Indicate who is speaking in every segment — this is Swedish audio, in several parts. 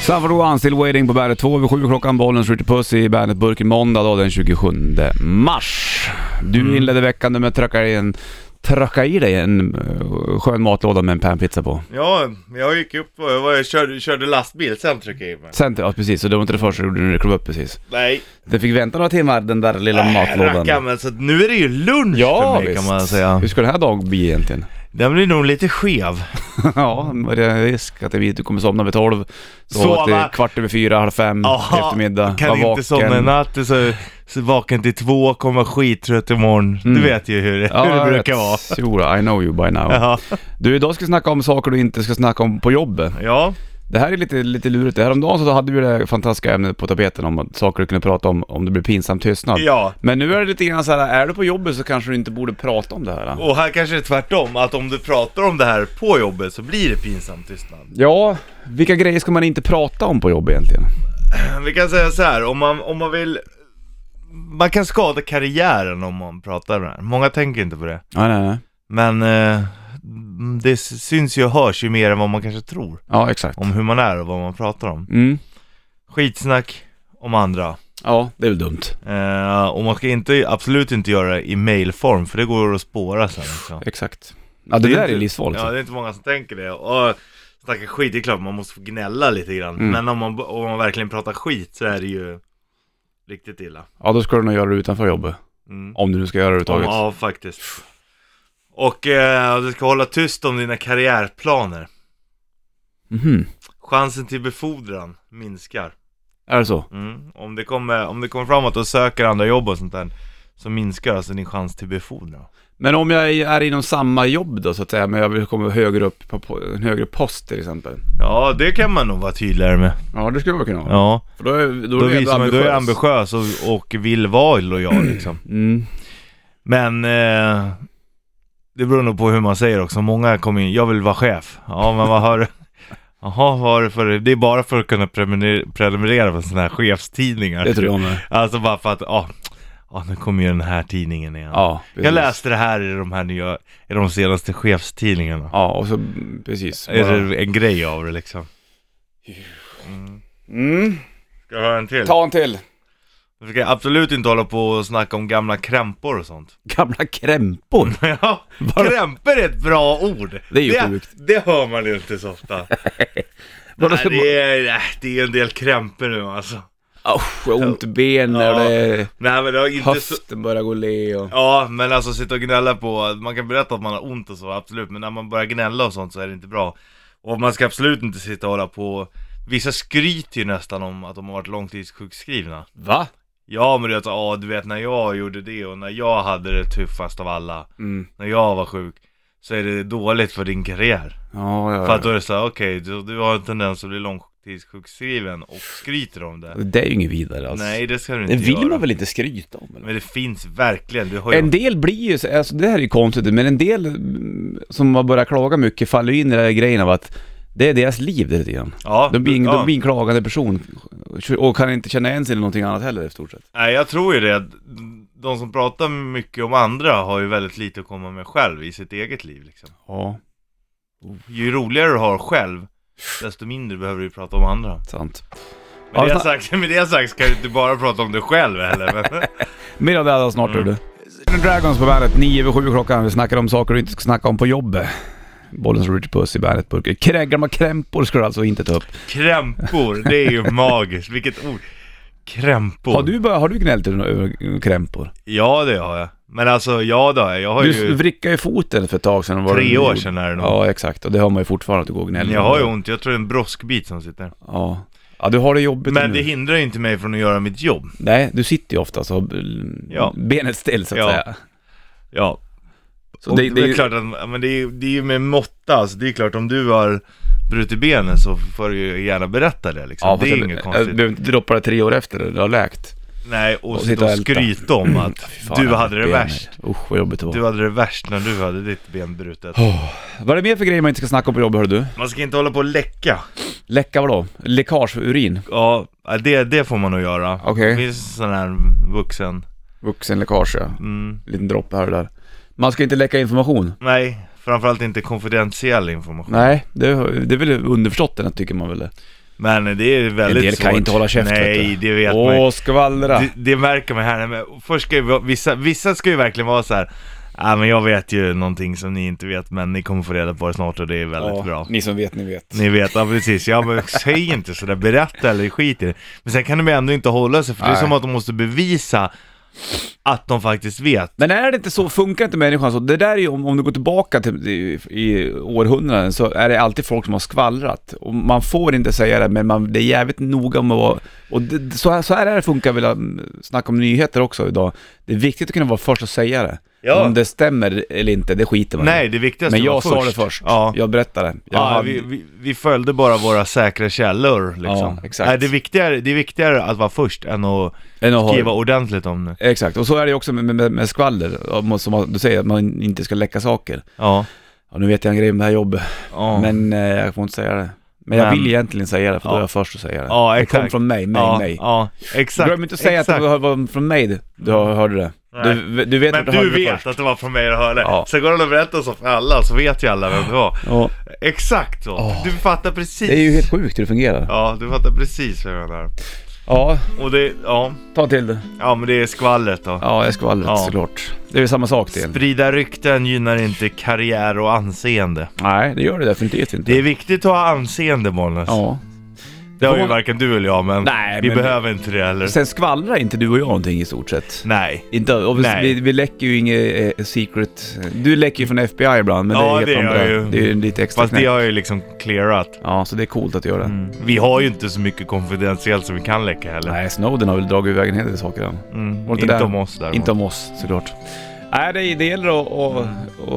Speaker 1: Savro One, Still Waiting på Bandet 2 över 7 klockan, Bollnäs Ritchie Puss i Bandetburken måndag då den 27 mars. Du
Speaker 2: Mm.
Speaker 1: inledde veckan med att tracka i, en, tracka i dig en eh, skön matlåda med en panpizza på.
Speaker 2: Ja, jag gick upp och jag, var, jag körde, körde lastbil sen tryckte jag i mig.
Speaker 1: Sen, ja precis, så det var inte det första du gjorde när du klev upp precis.
Speaker 2: Nej,
Speaker 1: Den fick vänta några timmar den där lilla
Speaker 2: äh,
Speaker 1: matlådan.
Speaker 2: rackarn, men så att nu är det ju lunch
Speaker 1: Ja,
Speaker 2: för mig
Speaker 1: visst.
Speaker 2: kan man säga.
Speaker 1: Hur ska den här dagen bli egentligen?
Speaker 2: Den blir nog lite skev.
Speaker 1: ja, vad är det risk att det blir, du kommer somna vid tolv, sova
Speaker 2: Sova.
Speaker 1: till kvart över fyra, halv fem i eftermiddag,
Speaker 2: kan
Speaker 1: vara
Speaker 2: inte somna i natt och så, så vaken till två, kommer skittrött imorgon.
Speaker 1: Mm.
Speaker 2: Du vet ju hur, det-
Speaker 1: Ja,
Speaker 2: hur
Speaker 1: jag
Speaker 2: det brukar
Speaker 1: vet.
Speaker 2: vara.
Speaker 1: Jodå, I know you by now.
Speaker 2: Ja.
Speaker 1: Du, idag ska vi snacka om saker du inte ska snacka om på jobbet.
Speaker 2: ja,
Speaker 1: Det här är lite, lite lurigt. Häromdagen så hade vi det fantastiska ämnet på tapeten om att saker du kunde prata om om det blir pinsam tystnad.
Speaker 2: ja.
Speaker 1: Men nu är det lite grann så här, är du på jobbet så kanske du inte borde prata om det här.
Speaker 2: Och här kanske det är tvärtom, att om du pratar om det här på jobbet så blir det pinsam tystnad.
Speaker 1: Ja, vilka grejer ska man inte prata om på jobbet egentligen?
Speaker 2: Vi kan säga så här, om man, om man vill... Man kan skada karriären om man pratar om det här. Många tänker inte på det.
Speaker 1: Nej, nej, nej.
Speaker 2: Men eh, mm, det s- syns ju och hörs ju mer än vad man kanske tror
Speaker 1: Ja, exakt.
Speaker 2: om hur man är och vad man pratar om.
Speaker 1: Mm.
Speaker 2: Skitsnack om andra.
Speaker 1: Ja, det är väl dumt.
Speaker 2: Eh, och man ska inte, absolut inte göra det i mailform för det går att spåra sen. Också.
Speaker 1: Exakt. Ja, det, där
Speaker 2: inte-
Speaker 1: är livsfarligt.
Speaker 2: Ja, det är inte många som tänker det. Och snacka skit, det är klart man måste få gnälla lite grann.
Speaker 1: Mm.
Speaker 2: Men om man, om man verkligen pratar skit så är det ju riktigt illa.
Speaker 1: Ja, då ska du nog göra det utanför jobbet.
Speaker 2: Mm.
Speaker 1: Om du nu ska göra det överhuvudtaget.
Speaker 2: Ja, faktiskt. Och eh, du ska hålla tyst om dina karriärplaner.
Speaker 1: Mhm.
Speaker 2: Chansen till befordran minskar.
Speaker 1: Är det så?
Speaker 2: Mm. Om, det kommer, om det kommer fram att du söker andra jobb och sånt där, så minskar alltså din chans till befordran.
Speaker 1: Men om jag är inom samma jobb då så att säga, men jag vill komma högre upp på- på en högre post till exempel.
Speaker 2: Ja, det kan man nog vara tydligare med.
Speaker 1: Ja, det skulle man kunna ha.
Speaker 2: Ja,
Speaker 1: För då är, då
Speaker 2: då
Speaker 1: är
Speaker 2: visar man att
Speaker 1: ändå
Speaker 2: du är ambitiös och, och vill vara lojal liksom.
Speaker 1: Mm.
Speaker 2: Men eh, det beror nog på hur man säger också. Många kommer in, jag vill vara chef. Ja, men vad har du? Jaha, vad har du för det? är bara för att kunna prenumerera- prenumerera på sådana här chefstidningar.
Speaker 1: Det tror jag med.
Speaker 2: Alltså bara för att, ja, ja nu kommer ju den här tidningen igen.
Speaker 1: Ja, precis.
Speaker 2: Jag läste det här i de här nya, i de senaste chefstidningarna.
Speaker 1: Ja, och så mm, precis.
Speaker 2: Är
Speaker 1: Bara...
Speaker 2: det en grej av det liksom? Mm.
Speaker 1: Mm.
Speaker 2: Ska jag höra en till?
Speaker 1: Ta en till.
Speaker 2: Du ska absolut inte hålla på och snacka om gamla krämpor och sånt.
Speaker 1: Gamla krämpor.
Speaker 2: Ja,
Speaker 1: Vadå?
Speaker 2: krämpor är ett bra ord.
Speaker 1: Det är ju
Speaker 2: det,
Speaker 1: sjukt.
Speaker 2: det hör man ju inte så ofta.
Speaker 1: Vadå,
Speaker 2: nej, det, är, nej, det är en del krämpor nu alltså.
Speaker 1: Usch, jag har ont i benen
Speaker 2: Ja.
Speaker 1: och det är...
Speaker 2: Nej men det har inte så...
Speaker 1: höften börjar gå le och...
Speaker 2: Ja, men alltså sitta och gnälla på, man kan berätta att man har ont och så, absolut, men när man börjar gnälla och sånt så är det inte bra. Och man ska absolut inte sitta och hålla på, vissa skryter ju nästan om att de har varit långtidssjukskrivna.
Speaker 1: Va?
Speaker 2: Ja men du vet, ja du vet när jag gjorde det och när jag hade det tuffast av alla,
Speaker 1: Mm.
Speaker 2: när jag var sjuk, så är det dåligt för din karriär.
Speaker 1: Ja, ja,
Speaker 2: För att
Speaker 1: ja.
Speaker 2: då är det såhär, okej, du, du har en tendens att bli långtidssjukskriven och skryter om det.
Speaker 1: Det är ju inget vidare alltså.
Speaker 2: Nej det ska du inte
Speaker 1: Det vill
Speaker 2: göra.
Speaker 1: man väl inte skryta om? Eller?
Speaker 2: Men det finns verkligen, du har ju...
Speaker 1: En del blir ju, så- alltså det här är ju konstigt, men en del mm, som har börjat klaga mycket faller ju in i den här grejen av att det är deras liv det lite grann.
Speaker 2: Ja,
Speaker 1: De blir, en,
Speaker 2: ja.
Speaker 1: de blir en klagande person och kan inte känna igen sig i någonting annat heller i stort sett.
Speaker 2: Nej jag tror ju det, de som pratar mycket om andra har ju väldigt lite att komma med själv i sitt eget liv liksom.
Speaker 1: Ja,
Speaker 2: Ju roligare du har själv, desto mindre behöver du prata om andra.
Speaker 1: sant.
Speaker 2: Med,
Speaker 1: Ja,
Speaker 2: det,
Speaker 1: ta-
Speaker 2: sagt, med det sagt ska du inte bara prata om dig själv heller. Men...
Speaker 1: Mer av det här snart mm. du. Dragons på bandet, 9 över 7 klockan. Vi snackar om saker du inte ska snacka om på jobbet. Bollens Richard Puss i Bandet-burken. Krä- Gamla krämpor ska du alltså inte ta upp.
Speaker 2: Krämpor, det är ju magiskt. Vilket ord. Krämpor.
Speaker 1: Har du, bör- har du gnällt över- över krämpor?
Speaker 2: Ja det har jag. Men alltså, ja det har jag. Jag har
Speaker 1: Du
Speaker 2: ju...
Speaker 1: vrickade ju foten för ett tag sedan. Var
Speaker 2: Tre
Speaker 1: det-
Speaker 2: år sedan är det nog.
Speaker 1: Ja, exakt. Och det har man ju fortfarande att gå och gnälla
Speaker 2: Men jag har ju
Speaker 1: om.
Speaker 2: ont, jag tror det är en broskbit som sitter.
Speaker 1: Ja. ja, du har det jobbigt
Speaker 2: Men
Speaker 1: nu.
Speaker 2: det hindrar ju inte mig från att göra mitt jobb.
Speaker 1: Nej, du sitter ju ofta så mm,
Speaker 2: Ja.
Speaker 1: benet still så att
Speaker 2: Ja.
Speaker 1: säga.
Speaker 2: Ja.
Speaker 1: Så
Speaker 2: Och
Speaker 1: det, det,
Speaker 2: är klart att, men det är, ju- det är ju med måtta, alltså, det är klart om du har brutit benen så får du ju gärna berätta det liksom.
Speaker 1: ja,
Speaker 2: det
Speaker 1: fast äh,
Speaker 2: är
Speaker 1: jag-
Speaker 2: inget
Speaker 1: Jag
Speaker 2: konstigt.
Speaker 1: behöver inte droppa det tre år efter det, det har läkt.
Speaker 2: Nej, och,
Speaker 1: och sitta
Speaker 2: sitta och
Speaker 1: och älta. Mm.
Speaker 2: skryta om att
Speaker 1: Fy fan,
Speaker 2: du
Speaker 1: jag
Speaker 2: hade det
Speaker 1: benet.
Speaker 2: värst.
Speaker 1: Usch vad jobbigt det var.
Speaker 2: Du hade det värst när du hade ditt ben brutet.
Speaker 1: Vad är det mer för grejer man inte ska snacka om på jobbet hör du?
Speaker 2: Man ska inte hålla på och läcka.
Speaker 1: Läcka vadå? Läckage för urin?
Speaker 2: Ja, det, det får man nog göra.
Speaker 1: Okej.
Speaker 2: Det finns sån här vuxen...
Speaker 1: Vuxenläckage ja.
Speaker 2: Mm.
Speaker 1: Liten droppe här och där. Man ska inte läcka information.
Speaker 2: Nej, framförallt inte konfidentiell information.
Speaker 1: Nej, det, det är väl underförstått den tycker man väl det.
Speaker 2: Men det är väldigt
Speaker 1: En del kan
Speaker 2: svårt.
Speaker 1: inte hålla käft,
Speaker 2: Nej,
Speaker 1: vet
Speaker 2: det vet man ju.
Speaker 1: Åh, skvallra!
Speaker 2: Det, det märker man här. Men först ska ju vara- vissa, vissa ska ju verkligen vara så här. Ja, men jag vet ju någonting som ni inte vet, men ni kommer få reda på det snart och det är väldigt
Speaker 1: Ja,
Speaker 2: bra.
Speaker 1: Ni som vet, ni vet.
Speaker 2: Ni vet, ja precis. Ja men säg inte sådär, berätta eller skit i det. Men sen kan de ju ändå inte hålla sig, för det är
Speaker 1: Nej.
Speaker 2: som att de måste bevisa att de faktiskt vet.
Speaker 1: Men är det inte så, funkar inte människan så? Det där är ju, om, om du går tillbaka till i, i århundraden, så är det alltid folk som har skvallrat. Och man får inte säga det, men man, det är jävligt noga med att vara... Och det, så, här, så här är det funkar väl, um, snacka om nyheter också idag. Det är viktigt att kunna vara först och säga det.
Speaker 2: Ja.
Speaker 1: Om det stämmer eller inte, det skiter man i.
Speaker 2: Nej, det viktigaste
Speaker 1: Men
Speaker 2: var
Speaker 1: jag sa det först.
Speaker 2: Ja.
Speaker 1: Jag berättade. Jag
Speaker 2: Ja,
Speaker 1: hade-
Speaker 2: vi, vi, vi följde bara våra säkra källor liksom.
Speaker 1: Ja, exakt.
Speaker 2: Nej, det, är viktigare, det är viktigare att vara först än att
Speaker 1: än att ha-
Speaker 2: skriva ordentligt om det.
Speaker 1: Exakt, och så är det ju också med, med, med skvaller, om- som du säger, att man inte ska läcka saker.
Speaker 2: Ja.
Speaker 1: Ja, nu vet jag en grej om det här jobbet,
Speaker 2: ja.
Speaker 1: men eh, jag får inte säga det. Men jag
Speaker 2: Men-
Speaker 1: vill egentligen säga det, för då
Speaker 2: Ja.
Speaker 1: är jag först att säga det.
Speaker 2: Ja,
Speaker 1: det
Speaker 2: exakt.
Speaker 1: kom från mig, mig,
Speaker 2: ja,
Speaker 1: mig.
Speaker 2: Ja, exakt.
Speaker 1: Glöm inte att säga
Speaker 2: exakt.
Speaker 1: att det var- var från mig du- du hör- hörde det. Du, du vet
Speaker 2: Men
Speaker 1: att du,
Speaker 2: du
Speaker 1: hörde det
Speaker 2: vet
Speaker 1: först.
Speaker 2: att det var från mig du hörde.
Speaker 1: Ja.
Speaker 2: Sen går det att berätta så för alla, så vet ju alla vem det var.
Speaker 1: Ja,
Speaker 2: Exakt så.
Speaker 1: Åh.
Speaker 2: Du fattar precis.
Speaker 1: det är ju helt sjukt hur det fungerar.
Speaker 2: Ja, du fattar precis vad jag menar.
Speaker 1: Ja,
Speaker 2: Och det, ja.
Speaker 1: ta till det.
Speaker 2: Ja men det är skvallret då.
Speaker 1: Ja, jag skvallret
Speaker 2: Ja.
Speaker 1: såklart. Det är ju samma sak till.
Speaker 2: Sprida rykten gynnar inte karriär och anseende.
Speaker 1: Nej, det gör det definitivt inte.
Speaker 2: Det är viktigt att ha anseende Bollnäs.
Speaker 1: Ja.
Speaker 2: Det har ju
Speaker 1: Får-
Speaker 2: varken du eller jag men
Speaker 1: Nej,
Speaker 2: vi
Speaker 1: men-
Speaker 2: behöver inte det heller.
Speaker 1: Sen skvallrar inte du och jag någonting i stort sett.
Speaker 2: Nej.
Speaker 1: Inte, och vi,
Speaker 2: Nej.
Speaker 1: vi, vi läcker ju inget eh, secret. Du läcker ju från FBI ibland, men
Speaker 2: Ja,
Speaker 1: det är
Speaker 2: det
Speaker 1: helt
Speaker 2: gör
Speaker 1: andra.
Speaker 2: jag ju.
Speaker 1: Det är ju lite extra
Speaker 2: Fast det Mm.
Speaker 1: knäck.
Speaker 2: har jag ju liksom clearat.
Speaker 1: Ja, så det är coolt att du gör det.
Speaker 2: Vi har ju inte så mycket konfidentiellt som vi kan läcka heller.
Speaker 1: Nej, Snowden har väl dragit iväg en hel del saker. än.
Speaker 2: Mm.
Speaker 1: Var det
Speaker 2: Inte
Speaker 1: där?
Speaker 2: om oss där.
Speaker 1: Inte om oss såklart. Mm. Nej, det, är- det gäller att, att,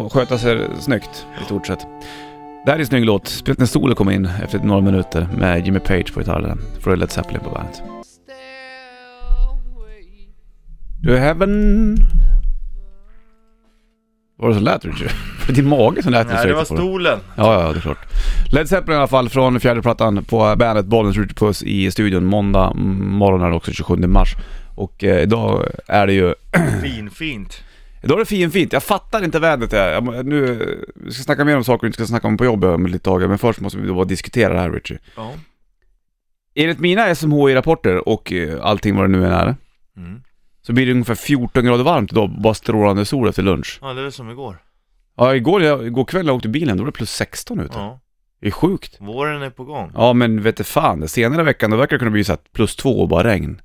Speaker 1: att sköta sig snyggt i stort sett. Det här är en snygg låt. Spelat när solen kom in efter några minuter med Jimmy Page på gitarren. Från Led Zeppelin på bandet.
Speaker 3: stairway.
Speaker 1: Du heaven... Var det så lät Richard? För din mage som lät när du
Speaker 2: Nej det
Speaker 1: sökte på
Speaker 2: var
Speaker 1: den.
Speaker 2: stolen.
Speaker 1: Ja, ja, det är klart. Led Zeppelin i alla fall från fjärde plattan på bandet Bollens Ritchie Puss i studion. Måndag morgon är det också, 27 mars. Och eh, idag är det ju...
Speaker 2: Fin, fint.
Speaker 1: Idag är det fin, fint. Jag fattar inte vädret det är. Jag- Nu eh, vi ska snacka mer om saker vi inte ska snacka om på jobbet om ett litet tag. Men först måste vi då bara diskutera det här Richie.
Speaker 2: Ja.
Speaker 1: Enligt mina SMHI-rapporter och eh, allting vad det nu än är.
Speaker 2: Mm.
Speaker 1: Så blir det ungefär 14 grader varmt idag, bara strålande sol efter lunch.
Speaker 2: Ja det är som igår.
Speaker 1: Ja, igår, jag, igår kväll när jag åkte bilen, då var det plus 16 ute.
Speaker 2: Ja.
Speaker 1: Det är sjukt.
Speaker 2: Våren är på gång.
Speaker 1: Ja men vet du fan, senare i veckan då verkar det kunna bli så att plus två och bara regn.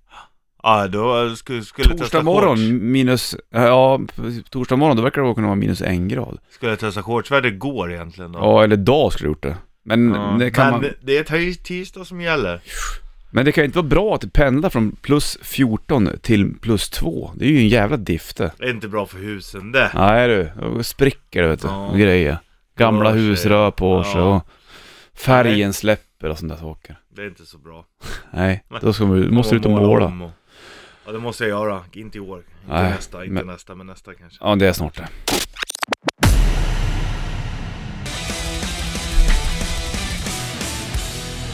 Speaker 2: Ja då skulle, skulle
Speaker 1: Torsdag
Speaker 2: testa shorts.
Speaker 1: morgon minus, ja torsdag morgon då verkar det kunna vara minus en grad.
Speaker 2: Skulle jag testa shortsväder går egentligen då.
Speaker 1: Ja, eller dag skulle jag gjort det. Men,
Speaker 2: Ja.
Speaker 1: det kan
Speaker 2: Men
Speaker 1: man,
Speaker 2: det- det är tis- tisdag som gäller.
Speaker 1: men det kan ju inte vara bra att pendla från plus 14 till plus 2. Det är ju en jävla diffte.
Speaker 2: Det är inte bra för husen det.
Speaker 1: Nej du, då spricker det vet du.
Speaker 2: Ja.
Speaker 1: och Grejer. Gamla
Speaker 2: Rör sig.
Speaker 1: hus rör på sig
Speaker 2: Ja.
Speaker 1: och färgen släpper och sådana där saker.
Speaker 2: Det är inte så bra.
Speaker 1: Nej, då ska man, måste du ut och måla.
Speaker 2: om och- Ja det måste jag göra. Inte i år. Inte
Speaker 1: Nej,
Speaker 2: nästa, inte
Speaker 1: men-
Speaker 2: nästa, men nästa kanske.
Speaker 1: Ja, det är snart det.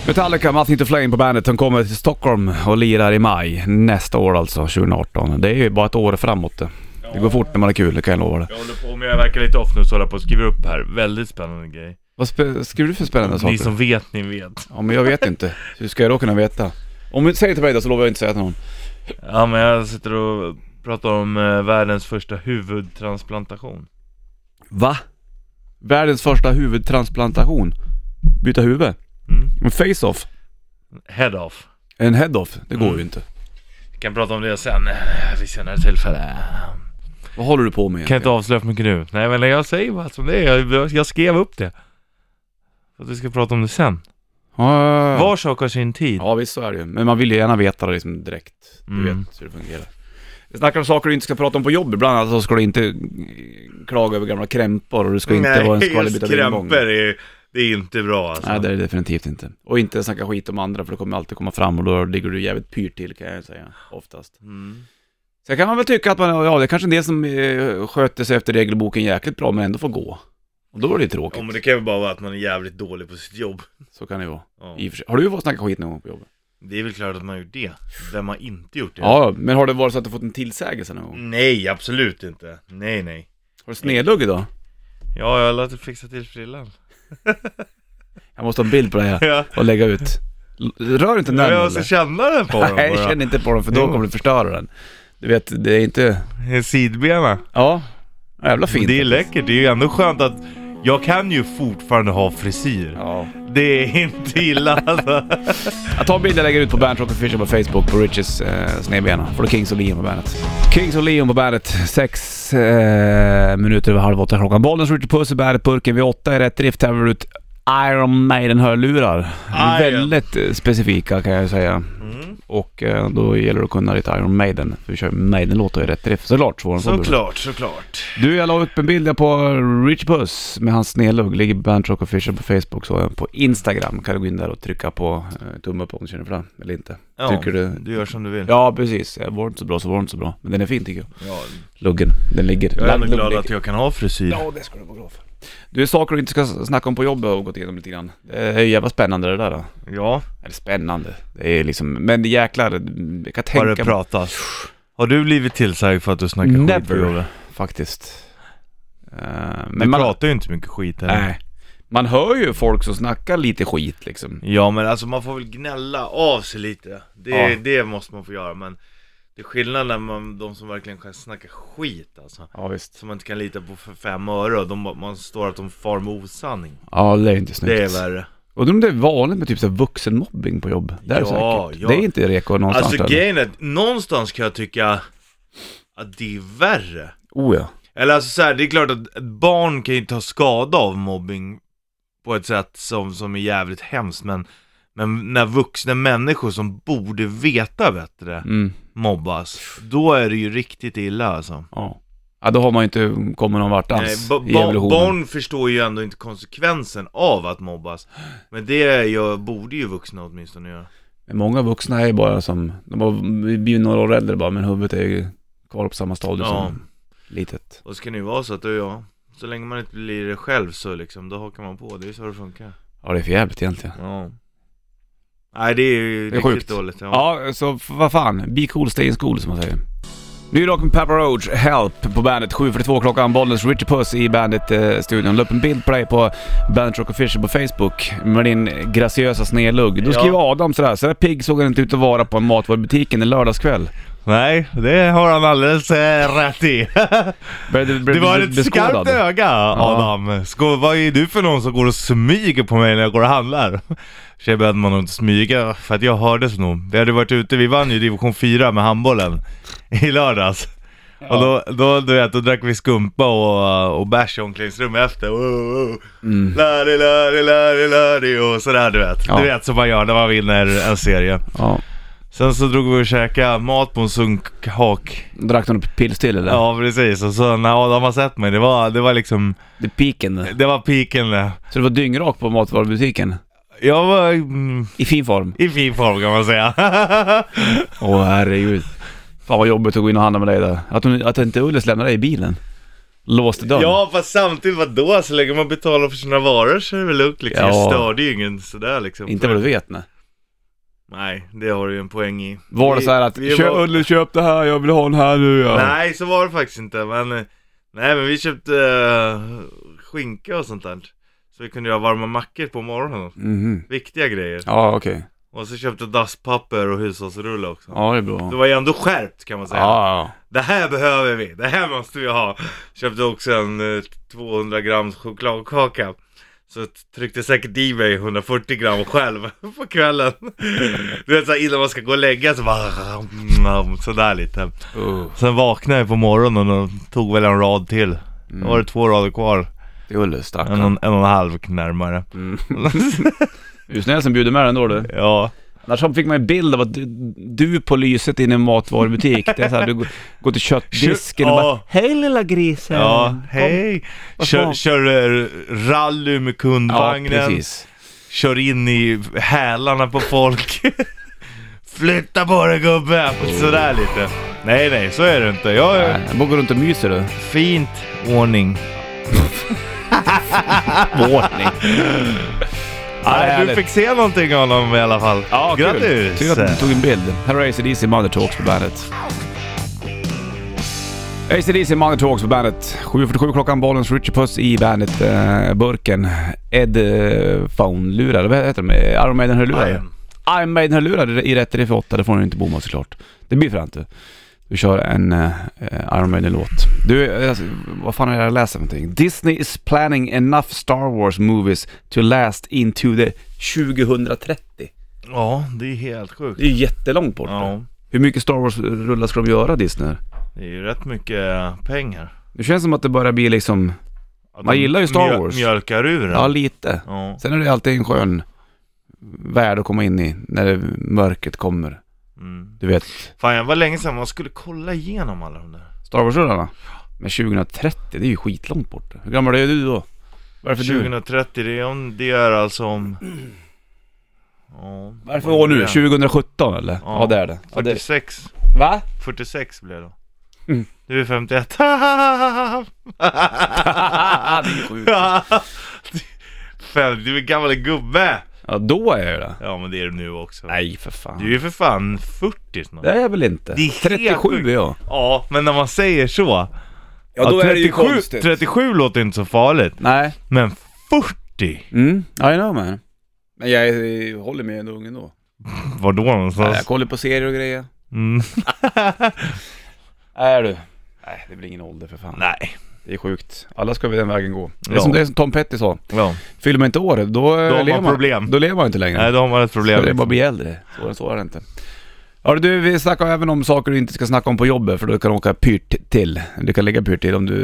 Speaker 1: Metallica, Nothing to Flame på bandet. De kommer till Stockholm och lirar i maj nästa år alltså, 2018. Det är ju bara ett år framåt det. Det går fort när man har kul, det kan jag lova dig.
Speaker 2: Jag håller på med, jag verkar lite off nu så håller jag på att skriva upp här. Väldigt spännande grej.
Speaker 1: Vad spe- skriver du för spännande
Speaker 2: Ni
Speaker 1: saker?
Speaker 2: som vet, ni vet.
Speaker 1: Ja, men jag vet inte. Hur ska jag då kunna veta? Om du säger till mig då så lovar jag inte säga till någon.
Speaker 2: Ja men jag sitter och pratar om eh, världens första huvudtransplantation.
Speaker 1: Va? Världens första huvudtransplantation. Byta huvud.
Speaker 2: Mm.
Speaker 1: En face-off.
Speaker 2: Head off.
Speaker 1: En head-off. Det går
Speaker 2: Mm.
Speaker 1: ju inte.
Speaker 2: Vi kan prata om det sen, eh, vid senare tillfälle.
Speaker 1: Vad håller du på med
Speaker 2: Kan inte avslöja för mycket nu. Nej men jag säger bara som det är, jag, jag skrev upp det. För att vi ska prata om det sen.
Speaker 1: Ah.
Speaker 2: Var sak har sin tid.
Speaker 1: Ja visst så är det ju. Men man vill ju gärna veta det liksom direkt. Du
Speaker 2: Mm.
Speaker 1: vet hur det fungerar. Vi snackar om saker du inte ska prata om på jobbet. Bland annat så ska du inte eh, klaga över gamla krämpor och du ska inte vara en skvallerbytta bildbong.
Speaker 2: krämpor är, det är inte bra alltså.
Speaker 1: Nej det är det definitivt inte. Och inte snacka skit om andra för det kommer alltid komma fram och då ligger du jävligt pyrt till kan jag säga. Oftast.
Speaker 2: Mm.
Speaker 1: Sen kan man väl tycka att man, ja det är kanske en del som eh, sköter sig efter regelboken jäkligt bra men ändå får gå. Och då är det ju tråkigt.
Speaker 2: Ja, men det kan ju bara vara att man är jävligt dålig på sitt jobb.
Speaker 1: Så kan det ju vara.
Speaker 2: Ja.
Speaker 1: I och för sig. Har du fått snacka skit någon gång på jobbet?
Speaker 2: Det är väl klart att man har gjort det. Vem har inte gjort det?
Speaker 1: Ja, men har det varit så att du fått en tillsägelse någon gång?
Speaker 2: Nej, absolut inte. Nej, nej.
Speaker 1: Har du snedlugg idag?
Speaker 2: Ja, jag har låtit fixa till frillan.
Speaker 1: Jag måste ha en bild på det här
Speaker 2: Ja.
Speaker 1: och lägga ut. Rör inte den
Speaker 2: jag ska
Speaker 1: eller?
Speaker 2: känna den på dem
Speaker 1: Nej,
Speaker 2: bara.
Speaker 1: känn inte på den för då
Speaker 2: Jo.
Speaker 1: kommer du förstöra den. Du vet, det är inte...
Speaker 2: Eh, Sidbena.
Speaker 1: Ja, jävla fint.
Speaker 2: Det är läckert. Det är ju ändå skönt att jag kan ju fortfarande ha frisyr.
Speaker 1: Ja.
Speaker 2: Det är inte illa alltså.
Speaker 1: Jag tar en bild jag lägger ut på Bandet Rock Official på Facebook på Riches eh, snedbena. Får du Kings och Leon på bandet. Kings och Leon på bandet. Sex eh, minuter över halv åtta klockan. Bollens Richard Puss i bandet, burken vid åtta i rätt drift tävlar vi ut Iron Maiden-hörlurar.
Speaker 2: Iron.
Speaker 1: Väldigt eh, specifika kan jag ju säga.
Speaker 2: Mm.
Speaker 1: Och eh, då gäller det att kunna lite Iron Maiden. För vi kör Maiden-låtar i rätt drift. Såklart svårare än så.
Speaker 2: Såklart, såklart.
Speaker 1: Du, jag la upp en bild där på Rich Puss med hans snedlugg. Ligger på Bernt Rock Official på Facebook, så på Instagram kan du gå in där och trycka på eh, tumme upp om du känner för det, eller inte.
Speaker 2: Ja,
Speaker 1: Tycker du?
Speaker 2: Du gör som du vill.
Speaker 1: Ja, precis. Jag var inte så bra så var inte så bra. Men den är fin tycker jag.
Speaker 2: Ja,
Speaker 1: Luggen, den ligger.
Speaker 2: jag är ändå
Speaker 1: Lugg
Speaker 2: glad
Speaker 1: ligger.
Speaker 2: att jag kan ha frisyr.
Speaker 1: Ja, det ska du vara glad för. Du, är saker du inte ska snacka om på jobbet har vi gått igenom lite grann. Det är jävla spännande det där. Då.
Speaker 2: Ja,
Speaker 1: Eller spännande, det är liksom, men jäklar, jag kan
Speaker 2: har det
Speaker 1: tänka mig
Speaker 2: pratats. Har du blivit tillsagd för att du snackar skit på
Speaker 1: Never.
Speaker 2: jobbet?
Speaker 1: faktiskt. Eh,
Speaker 2: Men du pratar ju inte mycket skit heller.
Speaker 1: Nej. Man hör ju folk som snackar lite skit liksom.
Speaker 2: Ja men alltså man får väl gnälla av sig lite Det,
Speaker 1: Ja.
Speaker 2: det måste man få göra men Det är skillnad när man, de som verkligen kan snacka skit alltså
Speaker 1: Ja visst.
Speaker 2: Som man inte kan lita på för fem öre och de, man står att de far med osanning
Speaker 1: Ja det är inte snyggt.
Speaker 2: Det är värre
Speaker 1: Undrar om det är vanligt med typ så här vuxenmobbing på jobb. Det är det
Speaker 2: Ja,
Speaker 1: säkert.
Speaker 2: ja.
Speaker 1: Det är inte reko någonstans.
Speaker 2: Alltså
Speaker 1: eller?
Speaker 2: grejen är, att någonstans kan jag tycka att det är värre
Speaker 1: oh ja.
Speaker 2: Eller alltså så här, det är klart att ett barn kan ju ta skada av mobbing på ett sätt som, som är jävligt hemskt men men när vuxna människor som borde veta bättre
Speaker 1: Mm.
Speaker 2: mobbas, då är det ju riktigt illa alltså.
Speaker 1: ja. Ja då har man ju inte kommit någon vart alls
Speaker 2: ba-
Speaker 1: i
Speaker 2: ba-
Speaker 1: evolutionen.
Speaker 2: barn förstår ju ändå inte konsekvensen av att mobbas, men det gör, borde ju vuxna åtminstone göra.
Speaker 1: Men många vuxna är ju bara som, de har blivit några år äldre bara men huvudet är ju kvar på samma stadie
Speaker 2: Ja.
Speaker 1: som litet.
Speaker 2: Och så kan det ju vara så att, du ja, så länge man inte blir det själv så liksom, då hakar man på, det är så det funkar.
Speaker 1: Ja det är för jävligt egentligen.
Speaker 2: Ja. Nej det är ju
Speaker 1: Det är
Speaker 2: riktigt
Speaker 1: sjukt.
Speaker 2: dåligt. Ja.
Speaker 1: Ja, så f- vad fan. Be cool, stay in school som man säger. Ny rock med Papa Roach, Help på bandet. 7.42 klockan, Bollnäs Richard Puss i bandet-studion. la upp en bild på dig på Bandet Rock Official på Facebook med din graciösa snedlugg. Då
Speaker 2: Ja.
Speaker 1: skrev Adam sådär, sådär pigg såg han inte ut att vara på en matvarubutiken en lördagskväll.
Speaker 2: Nej, det har han alldeles eh, rätt i.
Speaker 1: Började bli
Speaker 2: Det var ett
Speaker 1: beskådad.
Speaker 2: skarpt öga Adam. Skå, vad är du för någon som går och smyger på mig när jag går och handlar? Tjej behövde man nog inte smyga för att jag hördes nog. Vi hade varit ute, vi vann ju division 4 med handbollen i lördags. Och då, då, du vet, då drack vi skumpa och, och bärs i omklädningsrummet efter. Oh, oh. Lari, lari, lari, lari och sådär du vet.
Speaker 1: Ja.
Speaker 2: Du vet som man gör när man vinner en serie.
Speaker 1: Ja.
Speaker 2: Sen så drog vi och käkade mat på en sunkhak.
Speaker 1: Drack någon pils till eller?
Speaker 2: Ja precis, och så när Adam har sett mig, det var, det var liksom
Speaker 1: Det är piken.
Speaker 2: det var piken det.
Speaker 1: Så du var dyngrak på matvarubutiken?
Speaker 2: Jag var mm,
Speaker 1: I fin form?
Speaker 2: i fin form kan man säga.
Speaker 1: Åh herregud. Fan vad jobbigt att gå in och handla med dig där. Att, hon, att inte Ullis lämnade dig i bilen. Låste dörren.
Speaker 2: ja fast samtidigt vadå? Så länge man betalar för sina varor så är det väl lugnt liksom.
Speaker 1: Ja.
Speaker 2: Jag störde ju ingen sådär liksom.
Speaker 1: Inte vad du vet nej.
Speaker 2: Nej, det har du ju en poäng i.
Speaker 1: Var det
Speaker 2: Vi-
Speaker 1: så här att
Speaker 2: vi
Speaker 1: köp,
Speaker 2: var-
Speaker 1: Ulle köp det här, jag vill ha den här nu ja.
Speaker 2: Nej, så var det faktiskt inte. Men, eh, nej men vi köpte eh, skinka och sånt där. Så vi kunde göra varma mackor på morgonen.
Speaker 1: Mhm.
Speaker 2: Viktiga grejer.
Speaker 1: Ja okej.
Speaker 2: Och så köpte jag dasspapper och hushållsrulle också.
Speaker 1: Ja det är bra.
Speaker 2: Det var ju ändå skärpt kan man
Speaker 1: Ja,
Speaker 2: säga.
Speaker 1: ja.
Speaker 2: Det här behöver vi, det här måste vi ha. Köpte också en eh, 200 grams chokladkaka. Så tryckte säkert i mig 140 gram själv på kvällen. Du vet såhär innan man ska gå och lägga så bara mm, sådär lite.
Speaker 1: ja. Uh.
Speaker 2: Sen vaknade jag på morgonen och tog väl en rad till.
Speaker 1: Mm.
Speaker 2: Då var det två rader kvar.
Speaker 1: Det är Ulle
Speaker 2: En,
Speaker 1: stackarn.
Speaker 2: en, en och en halv närmare.
Speaker 1: Mm. Du är snäll som bjuder med den då du.
Speaker 2: Ja.
Speaker 1: Annars så fick man en bild av att du, du på lyset inne i en matvarubutik. Det är så här, du går, går till köttdisken och
Speaker 2: Ja.
Speaker 1: bara Hej lilla grisen!
Speaker 2: Ja,
Speaker 1: Mm. Kom."
Speaker 2: hej!
Speaker 1: Vad
Speaker 2: Kör,
Speaker 1: fan?
Speaker 2: kör eh, rally med
Speaker 1: Ja
Speaker 2: kundvagnen.
Speaker 1: precis.
Speaker 2: kör in i hälarna på folk. Flytta på dig gubben! Sådär lite. Nej, nej, så är det inte. Jag är
Speaker 1: Nej, Jag bara går runt och myser du.
Speaker 2: fint ordning.
Speaker 1: Vårning.
Speaker 2: Nej,
Speaker 1: härligt.
Speaker 2: du fick se någonting av honom i alla fall.
Speaker 1: Ja, kul.
Speaker 2: Grattis!
Speaker 1: Synd att du tog en bild. Här är ACDC Mother Talks på bandet. ACDC Mother Talks på bandet. 7.47 klockan, Bollens Richard Puss i bandet eh, Burken. Ed eh, Phone-lurar, vad heter de? Iron Maiden-hörlurar?
Speaker 2: Iron.
Speaker 1: Iron Maiden-hörlurar i rätt riff 8, det får du inte bomma såklart. Det blir fränt du. Vi kör en eh, eh, Iron Maiden-låt. Du, eh, alltså, vad fan är det jag läser för någonting? Disney is planning enough Star Wars movies to last into the 2030.
Speaker 2: Ja, det är helt sjukt.
Speaker 1: Det är ju jättelångt bort.
Speaker 2: Ja,
Speaker 1: Hur mycket Star Wars-rullar ska de göra Disney?
Speaker 2: det är ju rätt mycket pengar.
Speaker 1: Det känns som att det börjar bli liksom,
Speaker 2: Att
Speaker 1: Man
Speaker 2: de
Speaker 1: gillar ju Star Wars.
Speaker 2: Mjölkar ur den.
Speaker 1: ja lite.
Speaker 2: Ja.
Speaker 1: Sen är det alltid en skön värld att komma in i när det, mörkret kommer.
Speaker 2: Mm.
Speaker 1: Du vet,
Speaker 2: Fan, jag var länge sedan man skulle kolla igenom alla de där.
Speaker 1: Star Wars-rullarna. Men 2030, det är ju skitlångt bort. Hur gammal är du då? Varför du?
Speaker 2: 2030, det är, om, det är alltså om... Ja.
Speaker 1: Varför år nu? 2017 eller? Ja,
Speaker 2: Ja.
Speaker 1: det är det. Ja, det...
Speaker 2: 46.
Speaker 1: Va?
Speaker 2: 46 blir det då.
Speaker 1: Mm.
Speaker 2: Du är 51. Fem, du är gammal gubbe!
Speaker 1: Ja, då är jag ju det.
Speaker 2: Ja men det är du nu också.
Speaker 1: Nej, för fan.
Speaker 2: Du är ju för fan 40 snart.
Speaker 1: Det är jag väl inte?
Speaker 2: Det är helt
Speaker 1: 37
Speaker 2: sjukt.
Speaker 1: är jag.
Speaker 2: Ja, men när man säger så.
Speaker 1: Ja,
Speaker 2: 37 37 låter inte så farligt,
Speaker 1: Nej.
Speaker 2: men 40?
Speaker 1: Mm, I know man. Men jag är- håller med ändå ung ändå.
Speaker 2: Var då
Speaker 1: Nej, Jag
Speaker 2: någonstans?
Speaker 1: kollar på serier och grejer.
Speaker 2: Mm.
Speaker 1: Nej du. Nej, det blir ingen ålder för fan.
Speaker 2: Nej.
Speaker 1: Det är sjukt. Alla ska vi den vägen gå. Det är,
Speaker 2: Ja.
Speaker 1: som, det är som Tom Petty sa.
Speaker 2: Ja.
Speaker 1: Fyller man inte året, då, eh,
Speaker 2: har man
Speaker 1: lever
Speaker 2: problem.
Speaker 1: Då lever man inte längre.
Speaker 2: Nej, då har man ett
Speaker 1: Så
Speaker 2: problem.
Speaker 1: det är bara att bli äldre. Svårare än så är det inte. Ja du, vi snackar även om saker du inte ska snacka om på jobbet för då kan du åka pyrt till. Du kan lägga pyrt till om du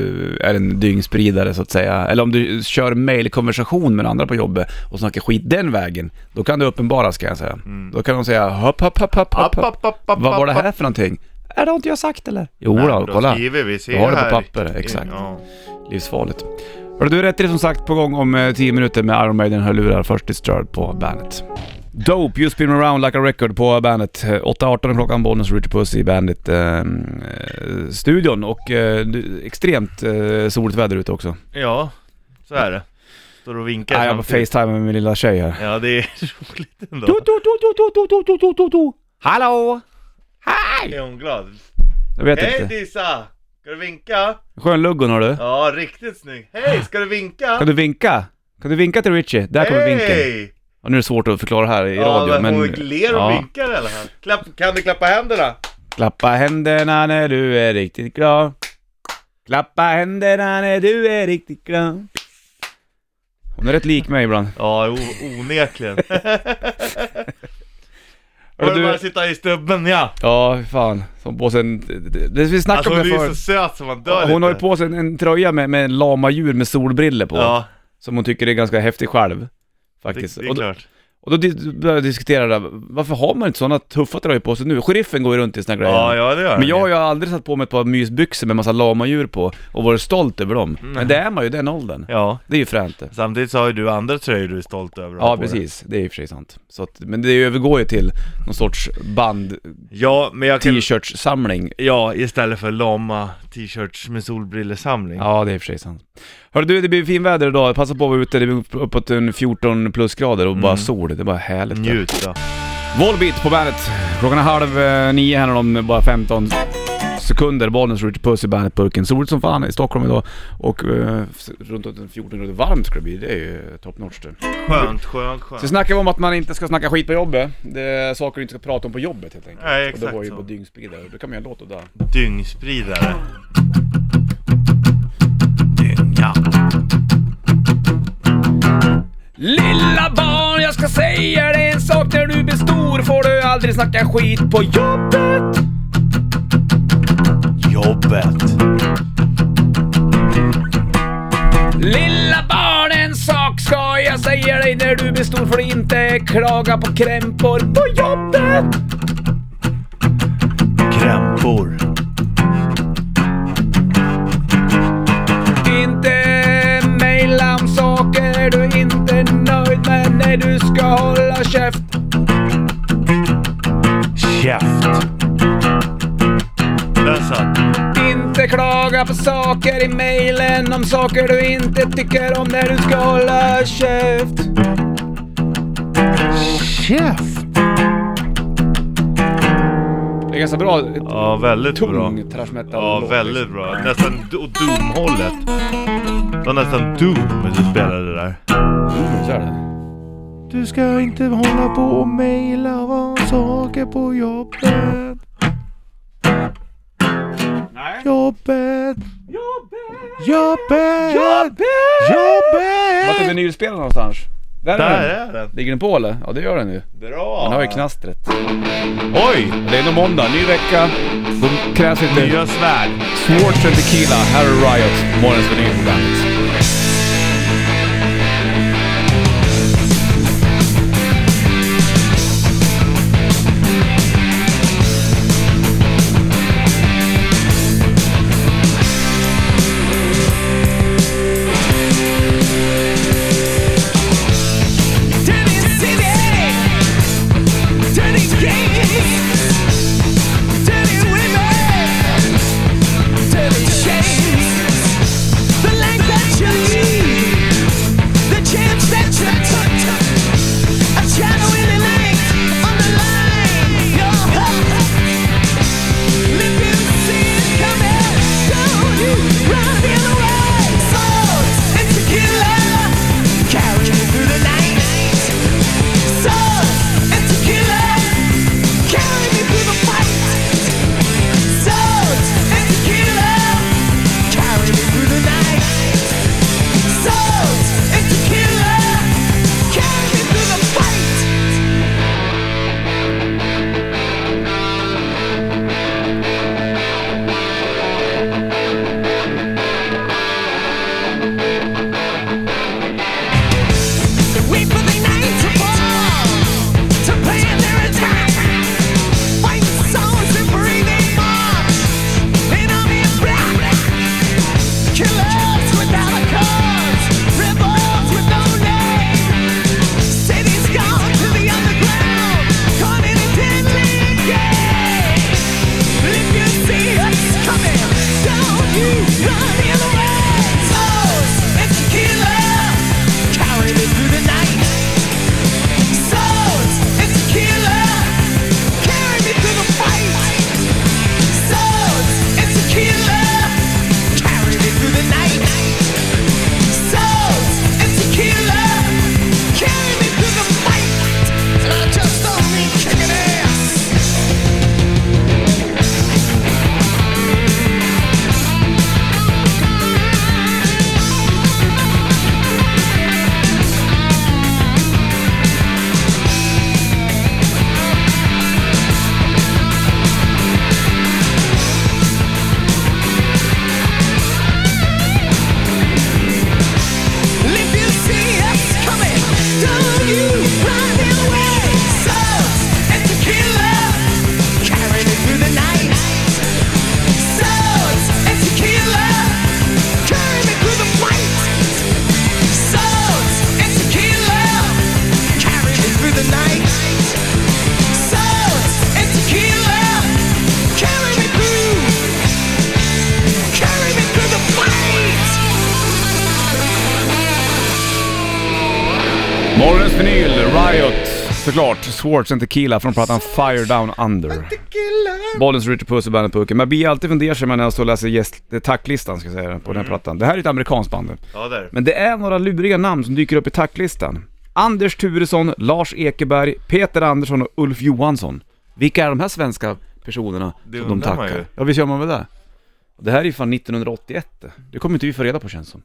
Speaker 1: är en dyngspridare så att säga. Eller om du kör mailkonversation med andra på jobbet och snackar skit den vägen. Då kan det uppenbaras kan jag säga. Då kan de säga hopp, hopp, hopp, hopp, hopp,
Speaker 2: Mm. App,
Speaker 1: hopp.
Speaker 2: app, app, app,
Speaker 1: Vad var det
Speaker 2: app,
Speaker 1: här för någonting? Är det har inte jag sagt eller? Jo
Speaker 2: Nej,
Speaker 1: då,
Speaker 2: då
Speaker 1: kolla.
Speaker 2: skriver vi, ser
Speaker 1: Jag har det på
Speaker 2: här.
Speaker 1: papper, exakt.
Speaker 2: Ja.
Speaker 1: Livsfarligt. Hörru du, rätt är som sagt på gång om eh, 10 minuter med Iron Maiden hörlurar. Först Disturbed på bandet. Dope, You Spin Me Around Like A Record på bandet. Eh, 8.18 klockan, Bollnäs och Richard Puss i bandet-studion. och eh, du- extremt eh, soligt väder ute också.
Speaker 2: ja, så är det. Står och vinkar
Speaker 1: Nej, jag var
Speaker 2: samtidigt.
Speaker 1: facetime med min lilla tjej här.
Speaker 2: Ja, det är roligt ändå.
Speaker 1: Du, du, du, du, du, du, du, du, du, du. Hallå! Hej!
Speaker 2: Är hon glad?
Speaker 1: Jag vet
Speaker 2: Hej
Speaker 1: inte.
Speaker 2: Disa! Ska du vinka?
Speaker 1: Skön lugg hon har du.
Speaker 2: Ja, riktigt snygg. Hej, ska du vinka?
Speaker 1: Kan du vinka? Kan du vinka till Richie? Där kommer vinken.
Speaker 2: Hej!
Speaker 1: Ja, nu är det svårt att förklara här i
Speaker 2: Ja,
Speaker 1: radio
Speaker 2: men
Speaker 1: men...
Speaker 2: hon ler och
Speaker 1: Ja.
Speaker 2: vinkar i alla fall. Klapp, kan du klappa händerna?
Speaker 1: Klappa händerna när du är riktigt glad. Klappa händerna när du är riktigt glad. Hon är rätt lik mig ibland.
Speaker 2: Ja, o- onekligen. Var
Speaker 1: du-
Speaker 2: du bara sitta i stubben ja.
Speaker 1: Ja, fy fan. Som på sig en... det- Det, vi snackade
Speaker 2: Alltså
Speaker 1: om
Speaker 2: hon
Speaker 1: det
Speaker 2: är ju så
Speaker 1: förut.
Speaker 2: söt som man dör
Speaker 1: Hon har ju
Speaker 2: lite.
Speaker 1: på sig en, en tröja med, med lama djur med solbriller på.
Speaker 2: Ja,
Speaker 1: Som hon tycker är ganska häftig själv.
Speaker 2: det,
Speaker 1: Faktiskt.
Speaker 2: det är
Speaker 1: och, då,
Speaker 2: klart.
Speaker 1: och då dis- började jag diskutera det där. Varför har man inte sådana tuffa tröjor på sig nu? Sheriffen går ju runt i såna grejer.
Speaker 2: Ja, ja det gör
Speaker 1: Men jag har
Speaker 2: hon ju.
Speaker 1: ju aldrig satt på mig ett par mysbyxor med massa lamadjur på och varit stolt över dem. Men det är man ju i den åldern.
Speaker 2: Ja,
Speaker 1: Det är ju fränt det.
Speaker 2: samtidigt så har ju du andra tröjor du är stolt över att ha
Speaker 1: Ja
Speaker 2: på dig.
Speaker 1: precis, det är i och för sig sant. Så att, men det övergår ju till någon sorts
Speaker 2: Ja, men jag kan...
Speaker 1: band-t-shirts-samling.
Speaker 2: Ja, istället för lama t-shirts med solbrillesamling.
Speaker 1: Ja det är i och för sig sant. Hörru du, det blir fin väder idag. Passa på att vara ute, det blir uppåt en 14 plusgrader och bara sol. Det är bara härligt.
Speaker 2: Mm. Njut då.
Speaker 1: Volbeat på bandet. Klockan är halv eh, nio här om bara 15 sekunder. Bollnäs Richard Puss i Bandet-burken. Soligt som fan i Stockholm idag och eh, runt om 14 grader varmt ska det bli. Det är ju eh, top notch det.
Speaker 2: Skönt, skönt,
Speaker 1: Så
Speaker 2: skönt.
Speaker 1: snackar vi om att man inte ska snacka skit på jobbet. Det är saker du inte ska prata om på jobbet helt enkelt.
Speaker 2: Nej,
Speaker 1: och
Speaker 2: exakt
Speaker 1: då var ju
Speaker 2: så.
Speaker 1: på dyngspridare. Då kan man göra en låt och där.
Speaker 2: Dyngspridare. Dynga.
Speaker 1: Lilla barn, jag ska säga dig en sak. När du blir stor får du aldrig snacka skit på jobbet.
Speaker 2: Jobbet.
Speaker 1: Lilla barn, en sak ska jag säga dig. När du blir stor får du inte klaga på krämpor på jobbet.
Speaker 2: Krämpor.
Speaker 1: Inte mejla om saker du inte är nöjd med. Nej, du ska hålla käft.
Speaker 2: Käft. Där satt den.
Speaker 1: Inte klaga på saker i mejlen om saker du inte tycker om när du ska hålla käft.
Speaker 2: Käft.
Speaker 1: Det är ganska bra.
Speaker 2: Ja, väldigt bra.
Speaker 1: Tung trash metal liksom.
Speaker 2: Ja, väldigt bra. Nästan do- åt Doom-hållet. Det var nästan Doom när du spelade det där.
Speaker 1: Så är Mm, det.
Speaker 2: Du ska inte hålla på och mejla vad saker på jobbet.
Speaker 1: Nej.
Speaker 2: Jobbet,
Speaker 1: Jobbet!
Speaker 2: jobbet,
Speaker 1: Jobbet! Vart är
Speaker 2: jobbet.
Speaker 1: vinylspelaren någonstans? Där,
Speaker 2: Där
Speaker 1: är den.
Speaker 2: är den.
Speaker 1: Ligger den på eller? Ja det gör den ju.
Speaker 2: Bra.
Speaker 1: Den har ju knastret.
Speaker 2: Oj!
Speaker 1: Det är nog måndag, ny vecka. Då krävs lite
Speaker 2: Nya svärd.
Speaker 1: Swartz and Tequila, Harry Riot, morgonens vinyl på bandet.
Speaker 3: Dirty city, dirty games, dirty women, dirty chains. The life that you lead, the chance that you took, a shadow in the night, on the line, your hope. If you see it coming, don't you run the other way? Swords and tequila, carry you through the night. Swords and tequila, carry me through the fight. Swords and tequila, carry me through the night. Swords and tequila, carry me through the fight. Wait for the night to fall, to plan their attack. Fight songs and breathing march, an army of black. Killers without a cause, rebels with no name. Cities gone to the underground, caught in a deadly game. If you see us coming, don't you run the other way. Toes and tequila. Carry me through the night. Souls and tequila. Carry me through the fight. Souls and tequila. Carry me through the night. Souls and tequila. Carry me through the fight. And I just don't mean kicking ass. If you see us coming, don't you run away. Souls and tequila, carry me through the night. Souls and tequila, carry me through the fight. Souls and tequila, carry me through the night. Souls and tequila, carry me through, carry me through the fight.
Speaker 1: Morgonens vinyl, Riot, såklart. Swartz and Tequila från plattan Fire Down Under. Bollens Richard Puss och bandet Pucken. Man blir alltid fundersam när jag står och läser gäst, eh, tacklistan ska jag säga, på den här plattan. Det här är ett amerikanskt band.
Speaker 2: Ja, där.
Speaker 1: Men det är några luriga namn som dyker upp i tacklistan. Anders Turesson, Lars Ekeberg, Peter Andersson och Ulf Johansson. Vilka är de här svenska personerna
Speaker 2: Det
Speaker 1: som de
Speaker 2: undrar man
Speaker 1: tackar?
Speaker 2: ju.
Speaker 1: Ja, visst gör man väl det? Det här är ju fan 1981 det. Det kommer inte vi få reda på känns som.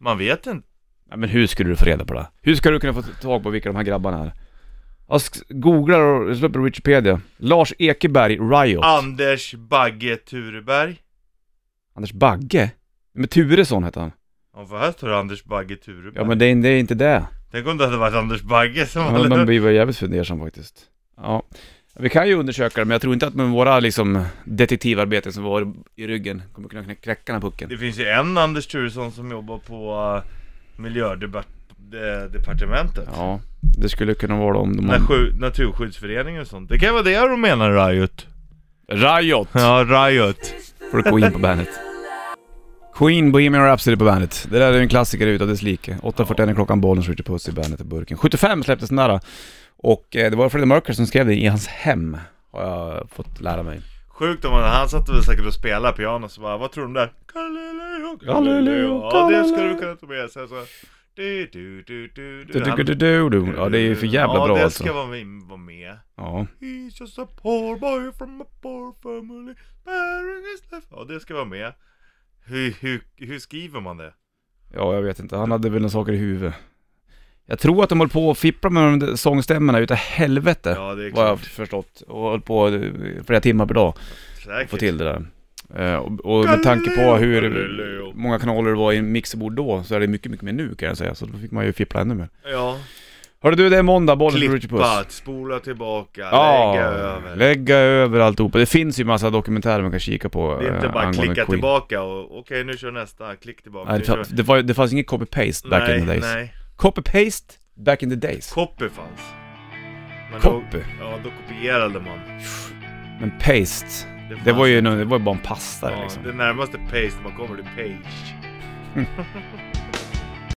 Speaker 2: Man vet inte.
Speaker 1: Nej, men hur skulle du få reda på det? Hur ska du kunna få tag på vilka de här grabbarna är? Jag sk- googlar och slår upp på Wikipedia. Lars Ekeberg, Riot.
Speaker 2: Anders Bagge Tureberg.
Speaker 1: Anders Bagge? Men Turesson heter han.
Speaker 2: Ja, för här står det Anders Bagge Tureberg.
Speaker 1: Ja men det är, det är inte det.
Speaker 2: Tänk om det hade varit Anders Bagge som
Speaker 1: Ja,
Speaker 2: hade...
Speaker 1: Men man blir väl jävligt fundersam faktiskt. Ja. Vi kan ju undersöka det, men jag tror inte att med våra liksom, detektivarbeten som vi har i ryggen kommer kunna knä- knäcka den här pucken.
Speaker 2: Det finns ju en Anders Turesson som jobbar på uh, eh, miljödepartementet.
Speaker 1: Ja, det skulle kunna vara om de...
Speaker 2: När sju- Naturskyddsföreningen och sånt. Det kan vara det de menar Riot.
Speaker 1: Riot!
Speaker 2: Ja, Riot.
Speaker 1: Får Queen på bandet. Queen, Bohemian Rhapsody på bandet. Det där är en klassiker utav dess like. 8.41 är klockan, bollen skjuter puss i bandet i burken. 75 släpptes den där. Och eh, det var Freddie Mercury som skrev det i hans hem, har jag fått lära mig.
Speaker 2: Sjukt om han, han satt väl säkert och spelade piano så bara, vad tror du om det här? Galileo, Galileo.
Speaker 1: Galileo,
Speaker 2: Ja, det ska
Speaker 1: Galileo.
Speaker 2: du kunna ta med. Sen så... Du, du, du, du, du.
Speaker 1: Du, du, du, du, du. Ja, det är ju för jävla
Speaker 2: ja,
Speaker 1: bra
Speaker 2: det
Speaker 1: alltså.
Speaker 2: ska vara med. Vara med.
Speaker 1: Ja.
Speaker 2: He's just a poor boy from a poor family. bearing his life. Ja, det ska vara med. Hur, hur, hur skriver man det?
Speaker 1: ja, jag vet inte. Han hade väl några saker i huvudet. Jag tror att de höll på och fipplade med de där sångstämmorna utav helvete.
Speaker 2: Ja, det är
Speaker 1: vad jag har
Speaker 2: klart.
Speaker 1: förstått. Och höll på eh, flera timmar per dag.
Speaker 2: Säkert.
Speaker 1: få till det där. Eh, Och, och med tanke på hur
Speaker 2: Galileo.
Speaker 1: många kanaler det var i en mixerbord då, så är det mycket, mycket mer nu kan jag säga. Så då fick man ju fippla ännu mer.
Speaker 2: Ja.
Speaker 1: Hörru du, det är måndag, bollen för Richie
Speaker 2: Klippa,
Speaker 1: Puss.
Speaker 2: spola tillbaka,
Speaker 1: Ja,
Speaker 2: lägga över.
Speaker 1: lägga över alltihopa. Det finns ju massa dokumentärer man kan kika på
Speaker 2: det är inte
Speaker 1: eh,
Speaker 2: bara
Speaker 1: angående
Speaker 2: klicka
Speaker 1: Queen.
Speaker 2: tillbaka och okej nu kör nästa, klick tillbaka.
Speaker 1: Nej,
Speaker 2: nu
Speaker 1: det,
Speaker 2: kör...
Speaker 1: fa- det, var, det fanns inget copy-paste back in the
Speaker 2: nej,
Speaker 1: days.
Speaker 2: nej.
Speaker 1: Copy-paste back in the days.
Speaker 2: Copy fanns. Men
Speaker 1: Copy?
Speaker 2: Då, ja, då kopierade man.
Speaker 1: Men paste,
Speaker 2: fanns
Speaker 1: det var ju,
Speaker 2: inte.
Speaker 1: liksom. någon- det var ju bara en pasta
Speaker 2: ja,
Speaker 1: liksom.
Speaker 2: Det närmaste paste man kommer till page.